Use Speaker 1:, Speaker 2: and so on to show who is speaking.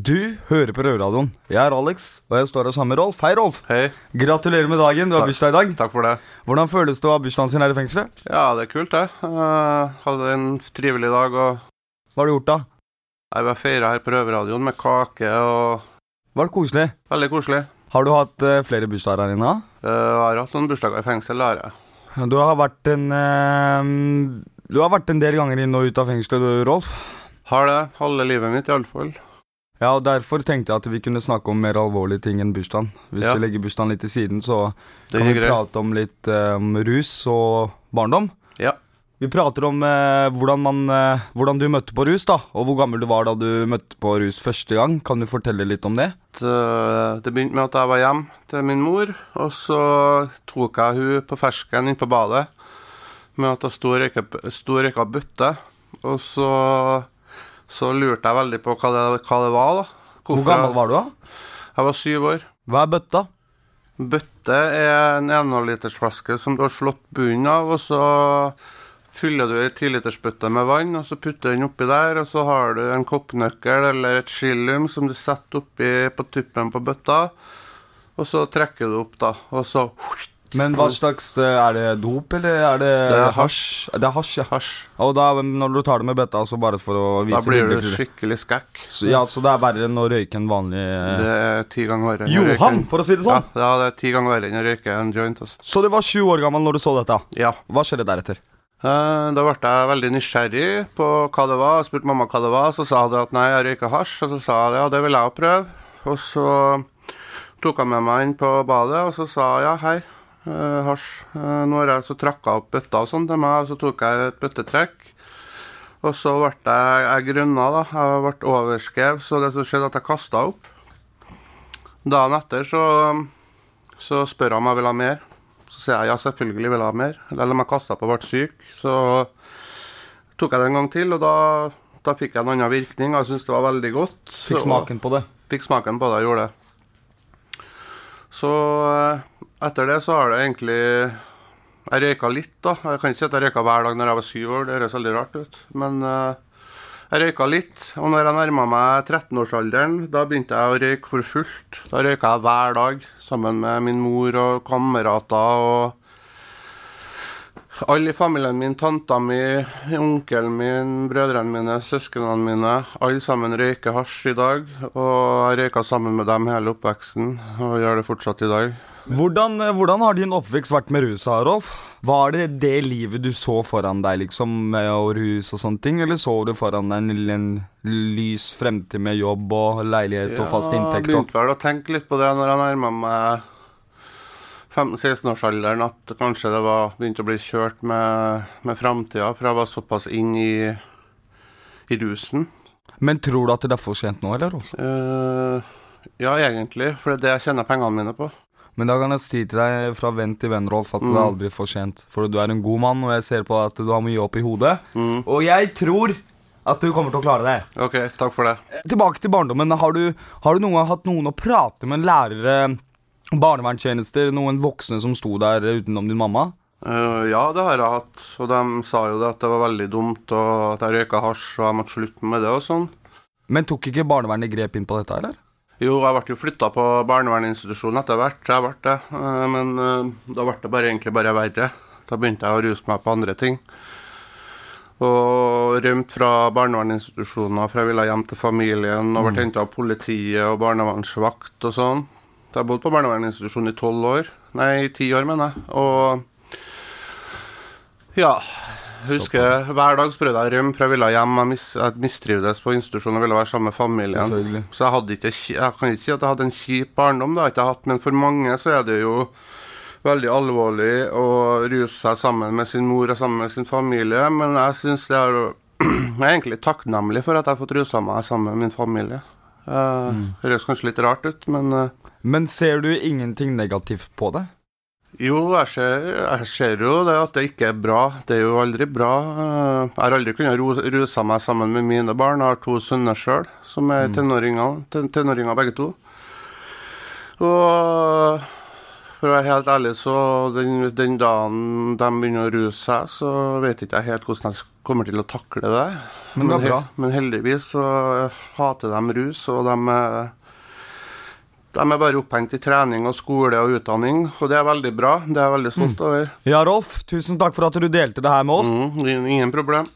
Speaker 1: Du hører på Røverradioen. Jeg er Alex, og jeg står her sammen med Rolf. Hei, Rolf.
Speaker 2: Hei,
Speaker 1: Gratulerer med dagen. Du har
Speaker 2: Takk.
Speaker 1: bursdag i dag.
Speaker 2: takk for det.
Speaker 1: Hvordan føles det å ha bursdagen sin her i fengselet?
Speaker 2: Ja, det er kult, det. Eh, hadde en trivelig dag, og
Speaker 1: Hva har du gjort, da?
Speaker 2: jeg var feira her på Røverradioen med kake og
Speaker 1: Var det koselig?
Speaker 2: Veldig koselig.
Speaker 1: Har du hatt eh, flere bursdager her inne? da?
Speaker 2: Eh, jeg har hatt noen bursdager i fengsel, har jeg.
Speaker 1: Du har vært en eh, Du har vært en del ganger inn og ut av fengselet, du, Rolf.
Speaker 2: Har det. Halve livet mitt, iallfall.
Speaker 1: Ja, og Derfor tenkte jeg at vi kunne snakke om mer alvorlige ting enn bursdagen. Hvis
Speaker 2: Ja.
Speaker 1: vi legger bursdagen litt til siden, så
Speaker 2: Det
Speaker 1: kan
Speaker 2: er
Speaker 1: vi
Speaker 2: greit.
Speaker 1: prate om litt eh, om rus og barndom.
Speaker 2: Ja.
Speaker 1: Vi prater om eh, hvordan, man, eh, hvordan du møtte på rus, da, og hvor gammel du var da du møtte på rus første gang. Kan du fortelle litt om det?
Speaker 2: Eh, Det begynte med at jeg var hjemme til min mor, og så tok jeg hun på fersken inn på badet med at hun sto og røyka- sto og røyka bøtte, og så, så lurte jeg veldig på hva det, hva det var, da.
Speaker 1: Hvor gammel var du da?
Speaker 2: Jeg var syv år.
Speaker 1: Hva er bøtta?
Speaker 2: Bøtte er en 1,5-litersflaske som du har slått bunnen av, og så fyller du ei 10-litersbøtte med vann, og så putter du den oppi der, og så har du en koppnøkkel eller et skillium som du setter oppi på tuppen på bøtta, og så trekker du opp, da, og så
Speaker 1: Men hva slags eh, Er det dop, eller er det
Speaker 2: Det er
Speaker 1: Det er hasj, ja.
Speaker 2: Hasj.
Speaker 1: Og da, når du tar det med bøtta, så bare for å vise
Speaker 2: Da blir du
Speaker 1: hyggeligere.
Speaker 2: skikkelig skækk.
Speaker 1: Så, ja, så det er verre enn å røyke en vanlig eh,
Speaker 2: Det er ti ganger verre. enn å røyke
Speaker 1: Johan,
Speaker 2: en-
Speaker 1: for å si det
Speaker 2: Ja,
Speaker 1: sånn!
Speaker 2: ja, det er ti ganger verre enn å røyke en joint, altså.
Speaker 1: Så du var sju år gammel når du så dette.
Speaker 2: Ja.
Speaker 1: Hva skjedde deretter?
Speaker 2: Eh, Da ble jeg veldig nysgjerrig på hva det var. Jeg spurte mamma hva det var, så sa hun at nei, jeg røyker hasj. Og så sa jeg ja, det vil jeg òg prøve. Og så tok jeg med meg inn på badet, og så sa jeg ja, hei, eh, hasj. Eh, Nå har jeg så trakka opp bøtta og sånn til meg, og så tok jeg et bøttetrekk. Og så ble jeg, jeg grønna, da. Jeg ble overskrevet, så det som skjedde, at jeg kasta opp. Dagen etter så, så spør jeg om jeg vil ha mer. Så sier jeg ja, selvfølgelig vil jeg ha mer. Eller om jeg kasta på og ble syk, så tok jeg det en gang til, og da, da fikk jeg en annen virkning. og Jeg syntes det var veldig godt.
Speaker 1: Fikk
Speaker 2: Så-
Speaker 1: smaken på det.
Speaker 2: Fikk smaken på det, jeg gjorde det. Så eh, etter det så har det egentlig Jeg røyka litt, da. Jeg kan ikke si at jeg røyka hver dag når jeg var syv år, det høres veldig rart ut. Men eh, jeg røyka litt. Og når jeg nærma meg 13-årsalderen, da begynte jeg å røyke for fullt. Da røyka jeg hver dag sammen med min mor og kamerater og alle i familien min, tanta mi, onkelen min, brødrene mine, søsknene mine, alle sammen røyker hasj i dag. Og jeg røyka sammen med dem hele oppveksten, og gjør det fortsatt i dag.
Speaker 1: Hvordan, eh, hvordan har din oppvekst vært med rusa, Rolf? Var det det livet du så foran deg, liksom, med å rus og sånne ting? Eller så du foran deg en, en lys fremtid med jobb og leilighet og fast inntekt?
Speaker 2: Jeg
Speaker 1: Og...
Speaker 2: begynte vel å tenke litt på det når jeg nærma meg 15-16-årsalderen, at kanskje det var begynte å bli kjørt med, med framtida, for jeg var såpass inn i, i rusen.
Speaker 1: Men tror du at det er for sent nå, eller, Rolf?
Speaker 2: Eh, ja, egentlig, for det er det jeg tjener pengene mine på.
Speaker 1: Men da kan jeg si til deg fra venn til venn, Rolf, at det er aldri for sent. For du er en god mann, og jeg ser på deg at du har mye opp i hodet.
Speaker 2: Mm.
Speaker 1: Og jeg tror at du kommer til å klare det.
Speaker 2: OK, takk for det.
Speaker 1: Tilbake til barndommen. Har du, har du noen gang hatt noen å prate med? Lærere, barnevernstjenester, noen voksne som sto der utenom din mamma?
Speaker 2: Eh, ja, det har jeg hatt. Og de sa jo det at det var veldig dumt, og at jeg røyka hasj, og jeg måtte slutte med det og sånn.
Speaker 1: Men tok ikke barnevernet grep inn på dette, eller?
Speaker 2: Jo, jeg ble jo flytta på barnevernsinstitusjon etter hvert, jeg ble det. Eh, Men eh, da ble det bare, egentlig bare verre. Da begynte jeg å ruse meg på andre ting. Og rømte fra barnevernsinstitusjoner, for jeg ville hjem til familien. Og ble henta av politiet og barnevernsvakt og sånn. Så jeg bodde på barnevernsinstitusjon i tolv år. Nei, i ti år, mener jeg. Og ja. Jeg husker Hver dag så prøvde jeg å rømme, for jeg ville hjem. Jeg, mis, jeg mistrivdes på institusjon og ville være sammen med familien.
Speaker 1: Selvfølgelig.
Speaker 2: Mm. Så jeg, hadde ikke, ki- jeg kan ikke si at jeg hadde en kjip barndom, det har jeg ikke hatt, men for mange så er det jo veldig alvorlig å ruse seg sammen med sin mor og sammen med sin familie, men jeg synes det er Jeg er egentlig takknemlig for at jeg har fått rusa meg sammen med min familie. Eh, Det høres kanskje litt rart ut, men eh,
Speaker 1: Men ser du ingenting negativt på det?
Speaker 2: jo, jeg ser, jeg ser jo det at det ikke er bra. Det er jo aldri bra. Eh, Jeg har aldri kunnet ro- ruse meg sammen med mine barn. Jeg har to sønner sjøl, som er tenåringer, ten- tenåringer begge to. Og for å være helt ærlig, så den, den dagen de begynner å ruse seg, så vet ikke jeg helt hvordan jeg, sk- kommer til å takle det.
Speaker 1: Men det er bra.
Speaker 2: he- men heldigvis så eh, hater de rus, og de, eh, de er bare opphengt i trening og skole og utdanning, og det er veldig
Speaker 1: Mm.
Speaker 2: bra. Det er jeg veldig stolt over.
Speaker 1: Ja, Rolf, tusen takk for at du delte det her med oss.
Speaker 2: Mm, ingen problem.